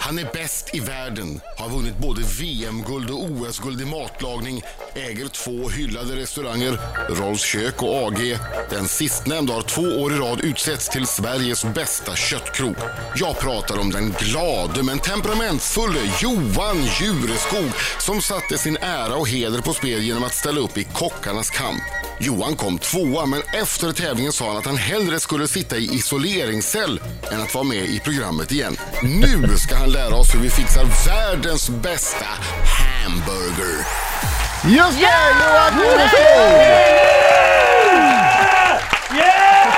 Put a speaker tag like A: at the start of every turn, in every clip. A: Han är bäst i världen, har vunnit både VM-guld och OS-guld i matlagning, äger två hyllade restauranger, Rolls kök och AG. Den sistnämnda har två år i rad utsetts till Sveriges bästa köttkrok. Jag pratar om den glade men temperamentsfulle Johan Jureskog som satte sin ära och heder på spel genom att ställa upp i Kockarnas kamp. Johan kom tvåa, men efter tävlingen sa han att han hellre skulle sitta i isoleringscell än att vara med i programmet igen. Nu ska han lära oss hur vi fixar världens bästa hamburger.
B: Just det! Johan Jureskog!
C: Yeah!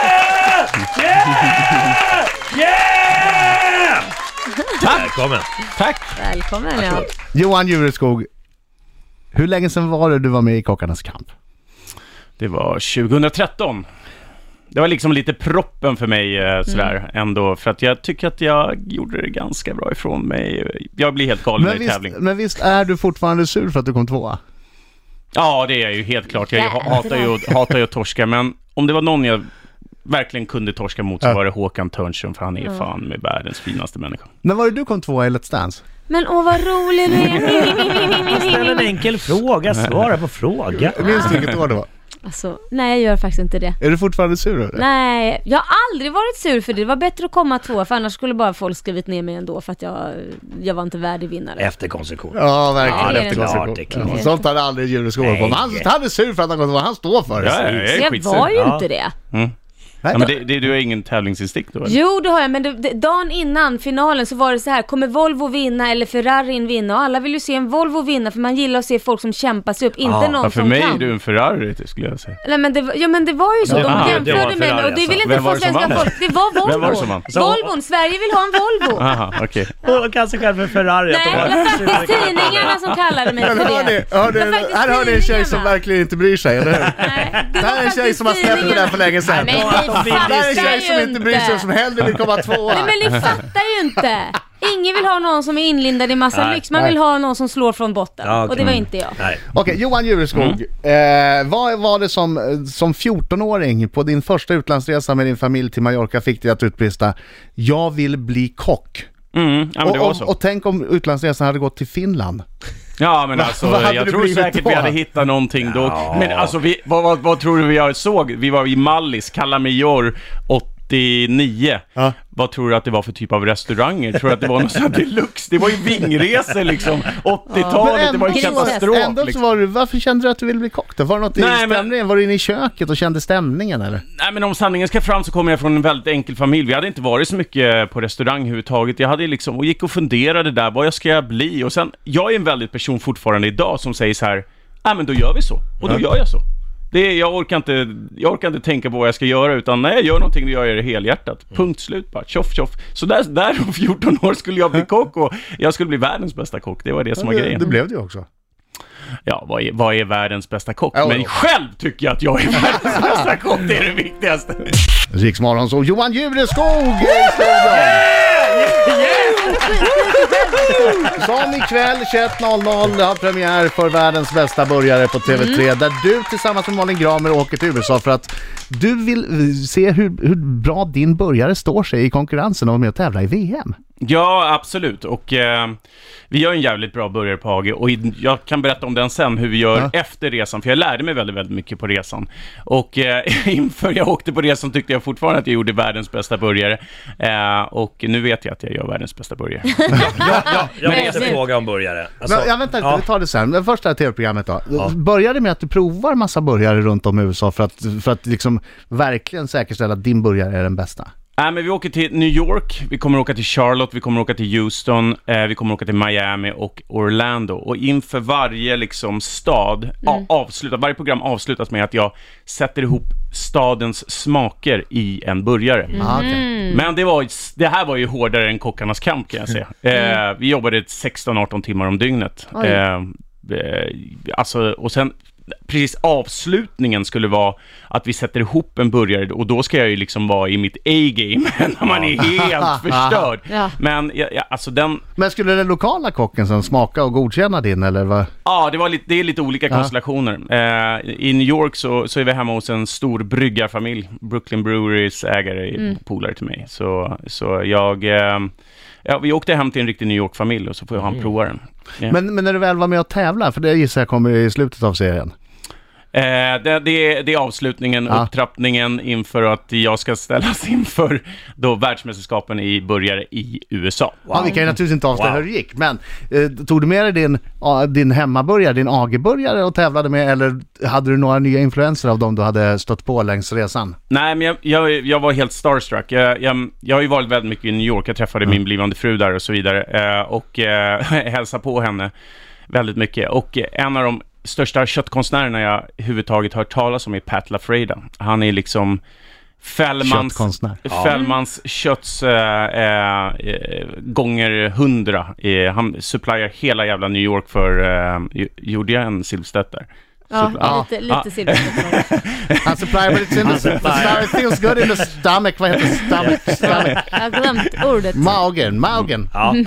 C: Yeah! Yeah! Välkommen!
D: Tack!
E: Välkommen ja.
B: Johan Jureskog, hur länge sedan var det du var med i Kockarnas kamp?
C: Det var 2013. Det var liksom lite proppen för mig eh, sådär
E: Mm.
C: ändå, för att jag tycker att jag gjorde det ganska bra ifrån mig. Jag blir helt galen
B: Men
C: i
B: visst,
C: tävling.
B: men visst är du fortfarande sur för att du kom tvåa?
C: Ja, det är jag ju helt klart. Jag ha- hatar ju, att- hatar ju att torska, men om det var någon jag verkligen kunde torska mot så
B: Ja.
C: var det Håkan Törnström, för han är fan med världens finaste människa.
B: När var det du kom tvåa i Let's Dance?
E: Men åh vad rolig du
D: Ställ en
E: är.
D: enkel fråga, svara på fråga.
B: Minns du vilket år det var?
E: Alltså, nej jag gör faktiskt inte det.
B: Är du fortfarande sur över det?
E: Nej, jag har aldrig varit sur för det. Det var bättre att komma tvåa för annars skulle bara folk skrivit ner mig ändå för att jag, jag var inte värdig vinnare.
D: Efterkonstruktion.
B: Ja,
D: Ja,
B: verkligen.
E: det är det.
B: Efterkonstruktion.
D: Klart, det är klart.
B: Ja, Sånt hade aldrig Jureskog på. Men Han,
D: Nej.
B: han är sur för att han kom tvåa, han står för
C: Ja,
B: det.
C: jag
E: Så
C: är
E: jag
C: skitsur.
E: var ju
D: Ja.
E: inte det.
B: Nej,
C: Ja, men det, det, du har ingen tävlingsinstinkt då? eller?
E: Jo det har jag, men det, det, dagen innan finalen så var det så här, kommer Volvo vinna eller Ferrarin vinna? Och alla vill ju se en Volvo vinna för man gillar att se folk som kämpar sig upp, inte
D: Ja,
E: någon
C: Ja, för
E: som
C: mig
E: kan.
C: är du en Ferrari, det skulle jag säga.
E: Nej men det, var- ja, men det var ju så, de
D: Ja, det var-
E: jämförde
D: det var
E: med mig och det
D: Ferrari,
E: vill
D: alltså.
E: inte
C: Vem var
E: få
C: det som
E: svenska
C: vann?
E: folk, det var Volvo.
C: Vem var det som vann?
E: Volvon, Sverige vill ha en Volvo.
C: Aha, okej.
D: Och kanske själv för Ferrari. att
E: Nej,
D: de
E: det
D: bara-
E: var faktiskt tidningarna som kallade mig för
B: Eller hör ni,
E: det.
B: hör
E: Det var
B: ni,
E: faktiskt
B: här har ni en tjej som
E: tidningarna.
B: verkligen inte bryr sig, eller hur?
E: Nej,
B: Det här är en tjej som har släppt det där för länge sedan.
E: Nej, men
D: Att
B: Det
E: ni
D: de vill-
B: här är en
E: fattar
B: tjej som
E: ju
B: inte bryr sig och som hellre vill komma tvåa.
E: Nej men liksom- ni fattar ju inte. Ingen vill ha någon som är inlindad i massa
D: Nej,
E: lyx. Man
B: nej. mm.
E: vill ha någon som slår från botten.
D: Ja, okej.
E: Och det var inte jag.
D: Nej.
B: Okej, Johan
C: Mm.
B: Jureskog. Eh, vad var det som, eh, som 14-åring på din första utlandsresa med din familj till Mallorca fick dig att utbrista “Jag vill bli kock”?
C: Mm, ja, men det
B: Och,
C: var
B: och,
C: så.
B: och tänk om utlandsresan hade gått till Finland?
C: Ja, men alltså,
B: vad hade
C: jag
B: det
C: tror
B: blivit
C: säkert
B: då?
C: vi hade hittat någonting då.
D: Ja.
C: Men alltså, vi, vad, vad, vad tror du vi jag såg? Vi var i Mallis, Kalla mig Jor, 89.
B: Ja.
C: Vad tror du att det var för typ av restauranger? Tror du att det var någon sån här deluxe? Det var ju vingresor liksom, 80-talet, det var ju
E: ändå-
C: katastrof
B: ändå så
C: liksom.
B: var du, varför kände du att du ville bli kock då? Var det något
C: Nej,
B: i
C: men-
B: stämningen? Var du inne i köket och kände stämningen eller?
C: Nej men om sanningen ska fram så kommer jag från en väldigt enkel familj. Vi hade inte varit så mycket eh, på restaurang överhuvudtaget. Jag hade liksom, och gick och funderade där, vad jag ska jag bli? Och sen, jag är en väldigt person fortfarande idag som säger så här, nej men då gör vi så. Och då gör jag så. Det är, jag, orkar inte, jag orkar inte tänka på vad jag ska göra, utan när jag gör någonting då gör jag det helhjärtat.
B: Mm.
C: Punkt slut bara, tjoff tjoff. Så där, där om 14 år skulle jag bli kock och jag skulle bli världens bästa kock. Det var det som var
B: det,
C: grejen.
B: det blev det ju också.
C: Ja, vad är, vad är världens bästa kock?
B: Ja,
C: Men
B: ja.
C: själv tycker jag att jag är världens bästa kock, det är det viktigaste.
B: Riksmorgon så Johan Jureskog är i studion! Som ikväll 21.00 har premiär för världens bästa burgare på TV3 där du tillsammans med Malin Gramer åker till USA för att du vill eh, se hur, hur bra din burgare står sig i konkurrensen om att vara med och tävla i VM.
C: Ja, absolut. Och eh, vi gör en jävligt bra burgare på Hage och i, jag kan berätta om den sen, hur vi gör
B: Ja.
C: efter resan, för jag lärde mig väldigt, väldigt mycket på resan. Och eh, inför jag åkte på resan tyckte jag fortfarande att jag gjorde världens bästa burgare. Eh, och nu vet jag att jag gör världens bästa burgare.
D: Jag måste
E: Men-
D: fråga om burgare. Alltså,
B: Men, ja, vänta lite,
D: ja.
B: vi tar det sen. Men först det här TV-programmet då. Börjar det med att du provar massa burgare runt om i USA för att, för att liksom verkligen säkerställa att din burgare är den bästa?
C: Nej, men vi åker till New York, vi kommer åka till Charlotte, vi kommer åka till Houston, eh, vi kommer åka till Miami och Orlando. Och inför varje liksom, stad, a- avsluta, varje program avslutas med att jag sätter ihop stadens smaker i en burgare.
B: Ah, okej.
E: Mm.
C: Men det, var, det här var ju hårdare än Kockarnas kamp kan jag säga. Eh, vi jobbade 16-18 timmar om dygnet.
E: Mm. Oj.
C: Eh, eh, alltså, och sen precis avslutningen skulle vara att vi sätter ihop en burgare och då ska jag ju liksom vara i mitt A-game när man är helt förstörd.
E: Ja.
C: Men ja, ja, alltså den,
B: Men skulle den lokala kocken sen smaka och godkänna din eller vad?
C: Ja, det, var lite, det är lite olika konstellationer. Eh, I New York så, så är vi hemma hos en stor bryggarfamilj. Brooklyn Breweries ägare är polare till mig. Så, så jag... Eh, Ja, vi åkte hem till en riktig New York-familj och så får han prova den. Ja.
B: Mm. Men, men när du väl var med och tävlade, för det gissar jag kommer i slutet av serien.
C: Eh, det, det, är- det är avslutningen,
B: Ja.
C: upptrappningen inför att jag ska ställas inför då världsmästerskapen i burgare i USA.
B: Ja, vi kan ju naturligtvis inte avslöja
D: Wow.
B: hur det gick, men eh, tog du med dig din, ah, din hemmaburgare, din AG-burgare och tävlade med eller hade du några nya influenser av dem du hade stött på längs resan?
C: Nej, men jag, jag, jag var helt starstruck. Jag, jag, jag har ju varit väldigt mycket i New York. Jag träffade min blivande fru där och så vidare. Eh, och eh, hälsade på henne väldigt mycket. Och eh, en av de största köttkonstnärerna jag överhuvudtaget hört talas om är Pat LaFreda. Han är liksom Fällmans...
B: Köttkonstnär.
C: Fällmans kötts eh, eh, gånger hundra. Eh, han supplyar hela jävla New York för... Eh, ju- gjorde jag en Silvstedt där?
E: Ja,
B: Ja.
E: lite, lite silver.
B: Han supply, but it's in the,
D: supply.
B: it feels good in the stomach, vad heter stomach? stomach.
E: Jag har glömt ordet.
B: Magen, magen.
D: Ja.
E: Mm.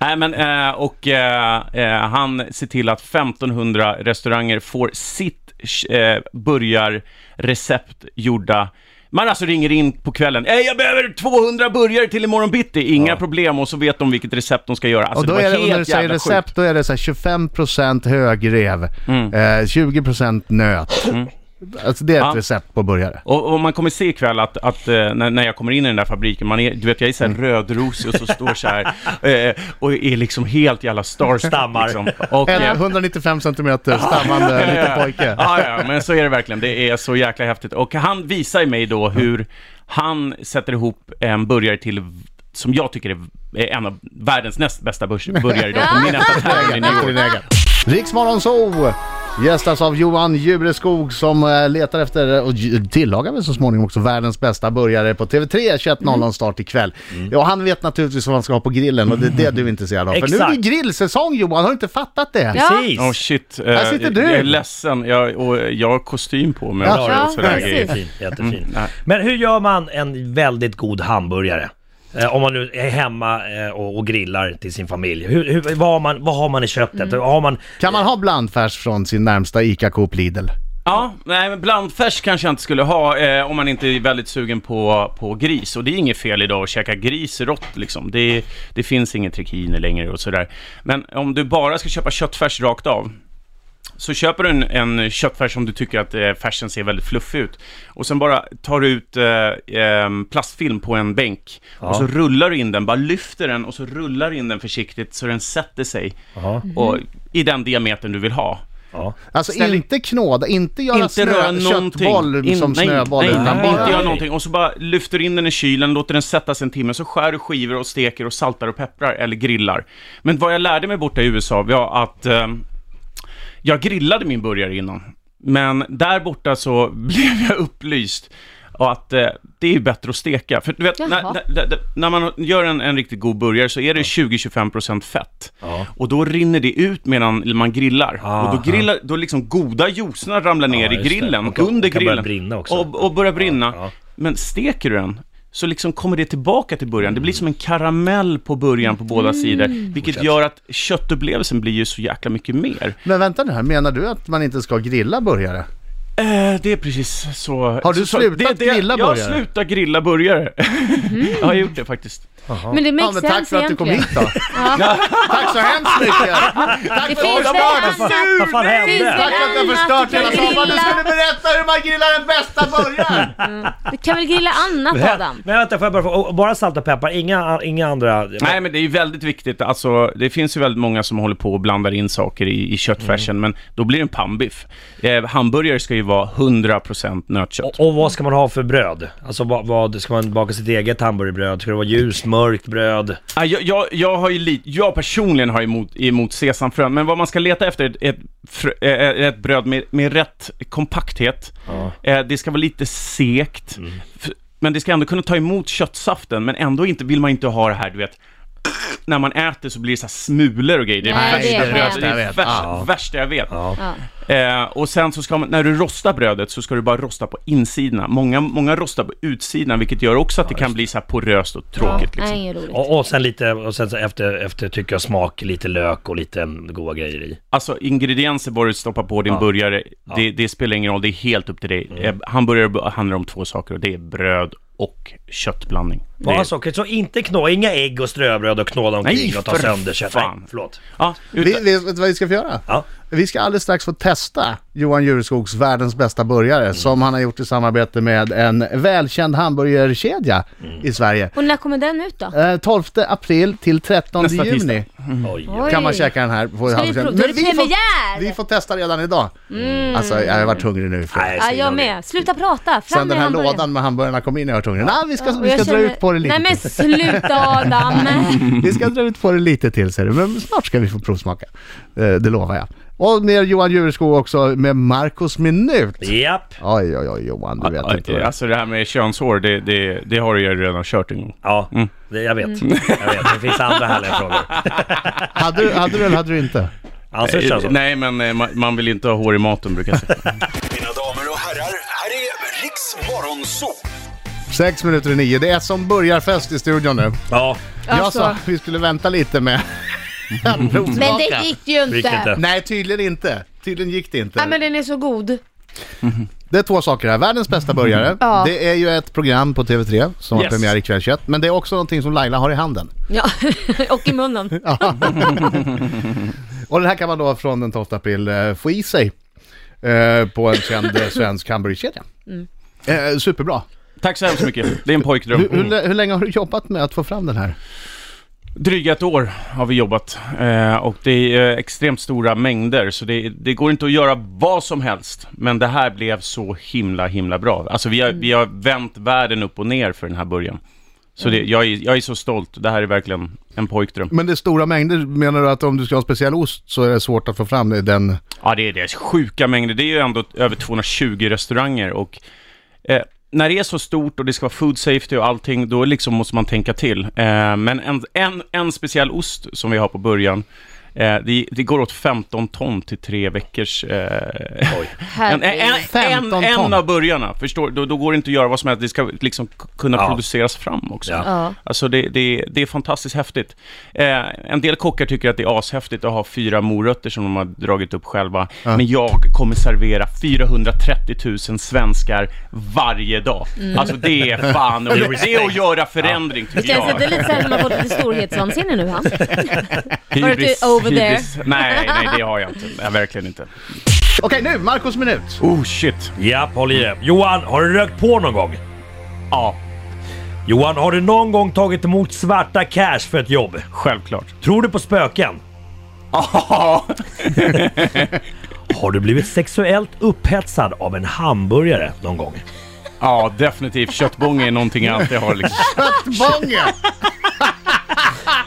C: Nej, men, eh, och eh, eh, han ser till att 1500 restauranger får sitt eh, burgarrecept gjorda. Man alltså ringer in på kvällen. "Eh, Jag behöver 200 burgare till imorgon bitti. Inga problem. Och så vet de vilket recept de ska göra. Alltså,
B: och då
C: det var
B: är det, och
C: helt
B: när du säger
C: jävla
B: recept,
C: sjukt.
B: då är det så här 25% högrev, eh, 20% nöt. Alltså det är ett
C: Mm. Ja.
B: recept på burgare.
C: Och, och man kommer se ikväll att, att eh, när, när jag kommer in i den där fabriken, man är, du vet jag är såhär
B: Mm.
C: rödrosig och så står så här eh, och är liksom helt jävla starstruck.
D: Stammar.
C: Liksom. Och,
B: En
C: eh,
B: 195 centimeter stammande Eh, liten pojke.
C: Ja, ja, men så är det verkligen. Det är så jäkla häftigt. Och han visar ju mig då hur han sätter ihop en burgare till som jag tycker är en av världens näst bästa burs- burgare idag. På min nästa tävling i New York.
B: Riksmorgon Zoo gästas av Johan Jureskog som eh, letar efter och ju- tillagar väl så småningom också världens bästa burgare på TV3 21.00 start ikväll.
C: Mm.
B: Ja, han vet naturligtvis vad han ska ha på grillen och det är det du är intresserad av. För nu är det
D: Exakt.
B: grillsäsong Johan, har du inte fattat det?
E: Ja.
D: Precis.
B: Oh,
C: Åh shit, eh,
B: Här sitter du.
C: jag är ledsen. Jag, och jag har kostym på mig.
B: Ja.
C: och
E: Ja,
C: sådär
E: precis.
C: grejer.
D: Jättefin,
B: Mm,
D: jättefin. Men hur gör man en väldigt god hamburgare? Eh, Om man nu är hemma eh, och, och grillar till sin familj. Hur, hur, vad, har man, vad har man i köttet?
E: Mm.
D: Har man...
B: Kan man ha blandfärs från sin närmsta ICA Coop Lidl?
C: Ja, nej men blandfärs kanske jag inte skulle ha eh, om man inte är väldigt sugen på, på gris. Och det är inget fel idag att käka gris rått liksom. Det, det finns ingen trikiner längre och sådär. Men om du bara ska köpa köttfärs rakt av, så köper du en, en köttfärs som du tycker att eh, färsen ser väldigt fluffig ut. Och sen bara tar du ut eh, eh, plastfilm på en bänk. Och så rullar du in den, bara lyfter den och så rullar du in den försiktigt så den sätter sig.
D: Ja,
C: Och, I den diametern du vill ha.
D: ja.
B: Alltså
C: Ställ-
B: inte knåda, inte göra
C: Inte röra
B: snö,
C: någonting.
B: köttboll
C: In-
B: som
C: nej,
B: snöboll.
C: Nej,
B: utan
D: nej,
B: bara-
C: inte göra någonting. Och så bara lyfter in den i kylen, låter den sättas en timme, så skär du skivor och steker och saltar och pepprar eller grillar. Men vad jag lärde mig borta i USA var att eh, jag grillade min burgare innan. Men där borta så blev jag upplyst att eh, det är ju bättre att steka. För du vet, när,
E: Jaha.
C: när, när- när man gör en, en riktigt god burgare så är det 20-25% fett.
D: Ja.
C: Och då rinner det ut medan man grillar.
D: Ah,
C: och då, grillar, då liksom goda juicerna ramlar ner
D: Ja,
C: i
D: just det.
C: grillen,
D: Och kan-
C: under
D: och kan börja
C: grillen.
D: brinna också.
C: Och, och börjar brinna.
D: ja.
C: Men steker du den, så liksom kommer det tillbaka till början. Det blir som en karamell på början på båda
D: Mm.
C: sidor. Vilket gör att köttupplevelsen blir ju så jäkla mycket mer.
B: Men vänta nu här, menar du att man inte ska grilla burgare?
C: Eh, det är precis så.
B: Har du
C: så,
B: slutat grilla
C: Jag har
B: burgare?
C: slutat grilla burgare.
D: Mm.
C: jag har gjort det faktiskt.
E: Men det
B: Ja,
E: makes
B: men
E: sense
B: tack för att du kom
E: egentligen.
B: hit då. Tack så hemskt mycket. Tack
E: Det
B: för att
E: finns
B: du
E: väl
B: har
E: annat?
D: Vad fan
E: Finns
D: hände?
E: väl
B: Tack för att du har
E: annat
B: förstört
E: du kan
B: hela sommaren. Du
E: grilla?
B: skulle berätta hur man grillar den bästa burgaren.
E: Du kan väl grilla annat Adam?
D: Men vänta, får jag bara, få- och bara salt och peppar? Inga, inga andra...
C: Nej men det är ju väldigt viktigt, alltså det finns ju väldigt många som håller på och blandar in saker i, i köttfärsen, men då blir det en pannbiff. Eh, hamburgare ska ju vara 100% nötkött.
D: Och vad ska man ha för bröd? Alltså vad, vad ska man baka sitt eget hamburgerbröd? Ska det vara ljust, mörkt bröd?
C: Ja, Jag, jag, jag, har ju li- jag personligen har emot, emot sesamfrön, men vad man ska leta efter är ett, ett, frö- eh, ett bröd med, med rätt kompakthet. Eh, Det ska vara lite sekt, F- men det ska ändå kunna ta emot köttsaften, men ändå inte, vill man inte ha det här, du vet, när man äter så blir det så här smulor och grejer. Det är
E: Nej,
C: värsta
E: det är
C: brödet.
E: hemskt,
C: det
B: jag
C: är
B: vet.
C: värst,
B: Ja.
C: värsta jag vet.
D: Ja.
C: Eh, och sen så ska man, när du rostar brödet så ska du bara rosta på insidorna. Många, många rostar på utsidan, vilket gör också att det kan bli så här poröst och tråkigt.
E: Ja,
C: liksom.
E: nej, inget roligt.
D: Och, och sen lite, och sen så efter, efter tycker jag smak, lite lök och lite mm, goda grejer i.
C: Alltså ingredienser, vad du stoppar på din burgare, det, det spelar ingen roll, det är helt upp till dig. Mm. Hamburgare handlar om två saker och det är bröd och köttblandning. Det
D: Bara
B: alltså,
C: är,
D: socker, så inte knå, inga ägg och ströbröd och knåda omkring
C: Nej,
D: och ta
C: för
D: sönder kött.
C: fan.
D: Nej, förlåt.
C: ja,
B: Vi,
C: utan,
B: vi, vet du vad vi ska få göra?
D: Ja.
B: Vi ska alldeles strax få testa Johan Jureskogs världens bästa burgare
C: Mm.
B: som han har gjort i samarbete med en välkänd hamburgerkedja
C: Mm.
B: i Sverige.
E: Och när kommer den ut då?
B: Eh, 12 april till 13
C: Nästa
B: juni
C: tisdag.
D: Oj.
E: Oj.
B: Eh, kan man käka den här. På
E: Ska vi
B: hamburgaren.
E: prova? Då är det
B: vi, får,
E: premiär! Mm.
B: vi får testa redan idag. Alltså jag har varit hungrig nu. För.
D: Nej,
E: Ja, jag
D: svinhungrig.
E: med. Sluta prata. Fram
B: Sen den
E: med
B: här
E: hamburgaren.
B: lådan med hamburgarna kom in jag har varit hungrig. Nej, vi ska,
E: Och
B: vi
E: jag
B: ska
E: känner-
B: dra ut på det lite.
E: Nej men sluta Adam!
B: Vi ska dra ut på det lite till ser du, men snart ska vi få provsmaka. Eh, Det lovar jag. Och ner Johan Jureskog också med Marcos minut.
D: Japp.
B: Oj, oj, oj Johan, du vet inte. vad det är.
C: alltså det här med könshår, det, det, det har du ju redan kört en gång.
D: Ja,
C: Mm.
D: det, jag vet.
E: Mm.
D: Jag vet, det finns andra härliga frågor.
B: Hade du, hade du eller hade du inte?
D: Alltså, kör så.
C: Nej, men eh, man, man vill inte ha hår i maten brukar jag säga.
F: Mina damer och herrar, här är Riks Morgonzoo!
B: Sex minuter i nio, det är som börjar fest i studion nu.
D: Ja,
B: Jag sa att vi skulle vänta lite med att
E: Men
B: provsmaka.
E: det gick ju
D: vilket
E: inte.
D: inte.
B: Nej, tydligen inte. Tydligen gick det inte.
E: Ja, men den är så god.
B: Det är två saker här. Världens bästa burgare.
E: Ja.
B: Det är ju ett program på TV3 som har
C: Yes.
B: premiär ikväll 21. Men det är också någonting som Laila har i handen.
E: Ja, och i munnen.
B: Och den här kan man då från den 12 april eh, få i sig eh, på en känd eh, svensk hamburgerkedja. Eh, superbra.
C: Tack så hemskt mycket. Det är en
B: Hur,
C: pojkdröm.
B: hur, lä- hur länge har du jobbat med att få fram den här?
C: Dryga ett år har vi jobbat eh, och det är eh, extremt stora mängder så det, det går inte att göra vad som helst. Men det här blev så himla, himla bra. Alltså vi har, vi har vänt världen upp och ner för den här början. Så det, jag, är, jag är så stolt. Det här är verkligen en pojkdröm.
B: Men det är stora mängder. Menar du att om du ska ha en speciell ost så är det svårt att få fram det- den?
C: Ja, det är det. Sjuka mängder. Det är ju ändå över 220 restauranger och eh, när det är så stort och det ska vara food safety och allting, då liksom måste man tänka till. Eh, men en, en, en speciell ost som vi har på början, eh, det, det går åt 15 ton till tre veckors... Eh, en, en,
E: Herregud.
C: en,
B: 15
C: en,
B: ton.
C: en av burgarna, förstår då, då går det inte att göra vad som helst. Det ska liksom k- kunna
D: Ja.
C: produceras fram också.
D: Ja.
E: Ja.
C: Alltså det, det, det är fantastiskt häftigt. Eh, en del kockar tycker att det är ashäftigt att ha fyra morötter som de har dragit upp själva. Men jag kommer servera 430 000 svenskar varje dag.
E: Mm.
C: Alltså det är fan, det är att göra förändring tycker
E: Känns
C: jag.
E: inte lite såhär som man fått lite storhetsvansinne nu han? Har du
C: Hybris-
E: till over there?
C: hybris- Nej, nej det har jag inte. Nej, verkligen inte.
B: Okej nu, Marcos minut.
C: Oh shit.
D: japp, håll i det. Johan, har du rökt på någon gång?
C: Ja,
D: Johan, har du någon gång tagit emot svarta cash för ett jobb?
C: självklart.
D: Tror du på spöken? Har du blivit sexuellt upphetsad av en hamburgare någon gång?
C: Ja, definitivt. Köttbång är någonting jag alltid har liksom.
B: Köttbånge!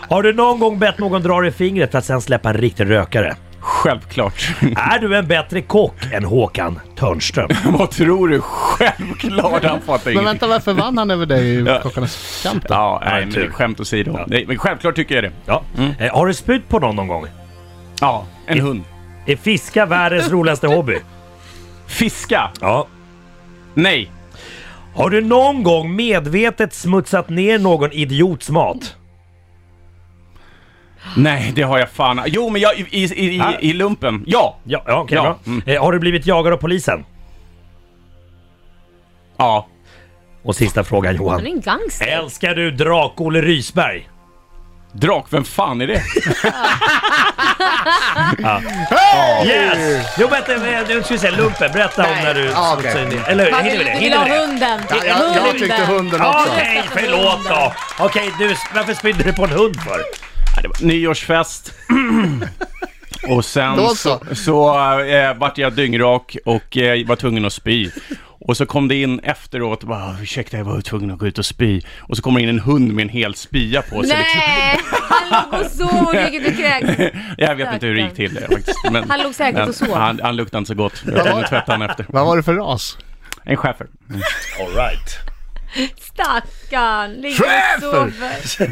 D: Har du någon gång bett någon dra dig i fingret för att sen släppa en riktig rökare?
C: Självklart.
D: Är du en bättre kock än Håkan Törnström?
C: Vad tror du? Självklart, han fattar
B: Men
C: ingenting.
B: vänta, varför vann han över dig i Kockarnas kamp då?
C: Ja, nej, men det
D: tur.
C: är skämt åsido. Nej, Men självklart tycker jag det.
D: Ja.
C: Mm.
D: Eh, Har du spytt på någon någon gång?
C: Ja, en hund.
D: Är fiska världens roligaste hobby?
C: Fiska?
D: Ja.
C: Nej.
D: Har du någon gång medvetet smutsat ner någon idiots mat?
C: Nej, det har jag fan. Jo, men jag, i, i, i, i lumpen. Ja!
D: Ja, ja okej
C: Ja.
D: bra.
C: Mm.
D: Eh, Har du blivit jagad av polisen?
C: Ja.
D: Och sista frågan
E: Han
C: Mm.
E: är
D: Johan.
E: en gangster.
D: Älskar du Drak-Olle Rysberg?
C: Drak, vem fan är det?
D: Yes! Jo men eh, du skulle säga lumpen, berätta om
B: Nej,
D: när du...
B: ja, okej.
D: smutsade ner- Eller
E: Han
D: Eh, hinner vi det?
E: ville
D: Hinner vi det?
E: ha hunden.
B: Ja, jag, jag tyckte hunden
D: Ja,
B: också.
D: Okej, förlåt då! Okej, du, varför spydde du på en hund för?
C: Ja, det var nyårsfest. Och sen
B: Då
C: så,
B: så.
C: så eh, vart jag dyngrak och eh, var tvungen att spy. Och så kom det in efteråt och bara ursäkta jag var tvungen att gå ut och spy. Och så kommer det in en hund med en hel spya på sig. Liksom.
E: Nej, han låg och sov och gick ut och kräktes.
C: Jag vet inte hur det gick till eh, faktiskt. Men,
E: Han låg säkert
C: men
E: och sov.
C: Han, han luktade inte så gott. Jag tvättade han efter.
B: Vad var det för ras?
C: En schäfer.
D: Alright.
E: Stackarn, ligger och sover.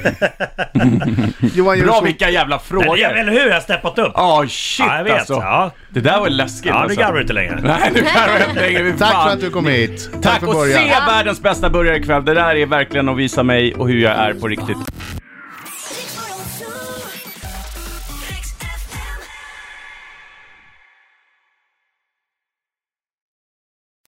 B: Johan
C: Bra
B: Jonsson,
C: vilka jävla
D: Men, ja,
C: frågor!
D: eller hur? Jag har steppat upp.
C: Ja, shit
D: Ja, jag vet.
C: alltså.
D: Ja.
C: Det där var läskigt
D: Ja, nu
C: alltså.
D: garvar du inte längre.
C: Nej, nu garvar jag inte längre. Fy
B: tack
C: fan.
B: för att du kom hit. Tack,
C: Tack
B: för
C: och
B: början.
C: se världens bästa burgare ikväll. Det där är verkligen att visa mig och hur jag är på riktigt.